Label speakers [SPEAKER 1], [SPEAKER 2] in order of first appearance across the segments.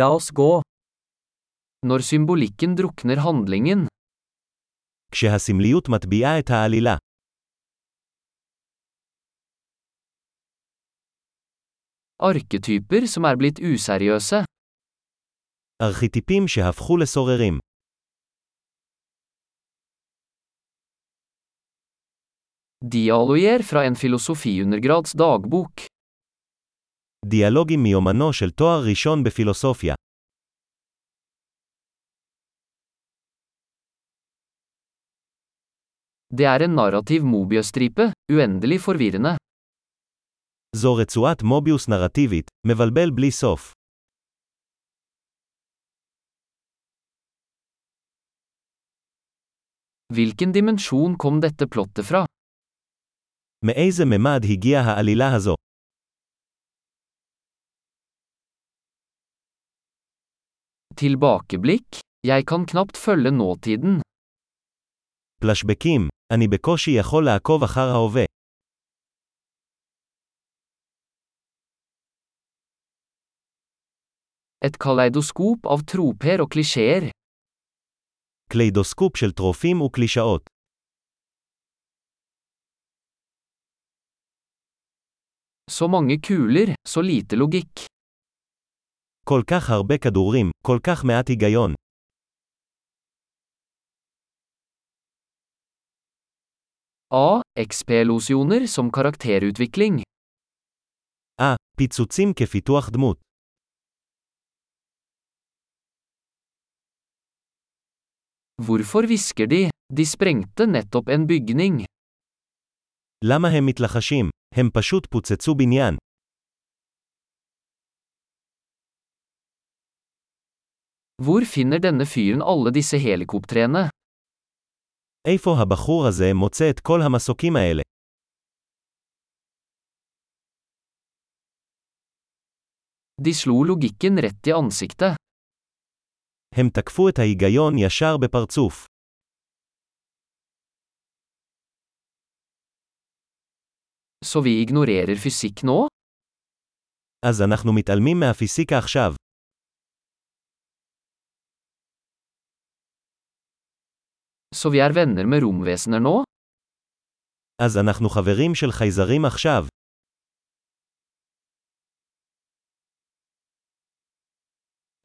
[SPEAKER 1] La oss gå. Når symbolikken drukner handlingen,
[SPEAKER 2] כשהסמליות מטביעה את העלילה,
[SPEAKER 1] arketyper som er blitt useriøse,
[SPEAKER 2] ארכיטיפים שהפכו לסוררים,
[SPEAKER 1] dialoger fra en filosofiundergrads dagbok,
[SPEAKER 2] דיאלוגים מיומנו של תואר ראשון בפילוסופיה,
[SPEAKER 1] det er en narrativ mobiøstripe, uendelig forvirrende.
[SPEAKER 2] זו רצועת מוביוס נרטיבית, מבלבל בלי סוף.
[SPEAKER 1] Hvilken dimensjon kom dette plottet fra?
[SPEAKER 2] מאיזה ממד הגיעה העלילה הזו?
[SPEAKER 1] Tilbakeblikk? Jeg kan knapt følge nåtiden.
[SPEAKER 2] פלשבקים, אני בקושי יכול לעקוב אחר ההווה.
[SPEAKER 1] Et kaleidoskop av troper og klisjeer.
[SPEAKER 2] קליידוסקופ של טרופים וקלישאות.
[SPEAKER 1] Så mange kuler, så lite logikk.
[SPEAKER 2] כל כך הרבה כדורים, כל כך מעט היגיון.
[SPEAKER 1] A. XP-losjoner som karakterutvikling.
[SPEAKER 2] אה, פיצוצים כפיתוח דמות.
[SPEAKER 1] Hvorfor hvisker de? De sprengte nettopp en bygning.
[SPEAKER 2] למה הם מתלחשים? הם פשוט פוצצו בניין.
[SPEAKER 1] Hvor finner denne fyren alle disse helikoptrene?
[SPEAKER 2] איפה הבחור הזה מוצא את כל המסוקים האלה?
[SPEAKER 1] De slo logikken rett i ansiktet.
[SPEAKER 2] הם תקפו את ההיגיון ישר בפרצוף.
[SPEAKER 1] Så vi ignorerer fysikk nå?
[SPEAKER 2] אז אנחנו מתעלמים מהפיסיקה עכשיו.
[SPEAKER 1] Så vi er venner med romvesener nå?
[SPEAKER 2] אז אנחנו חברים של חייזרים עכשיו.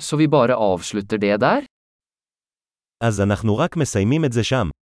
[SPEAKER 1] Så vi bare avslutter det der?
[SPEAKER 2] אז אנחנו רק מסיימים את זה שם.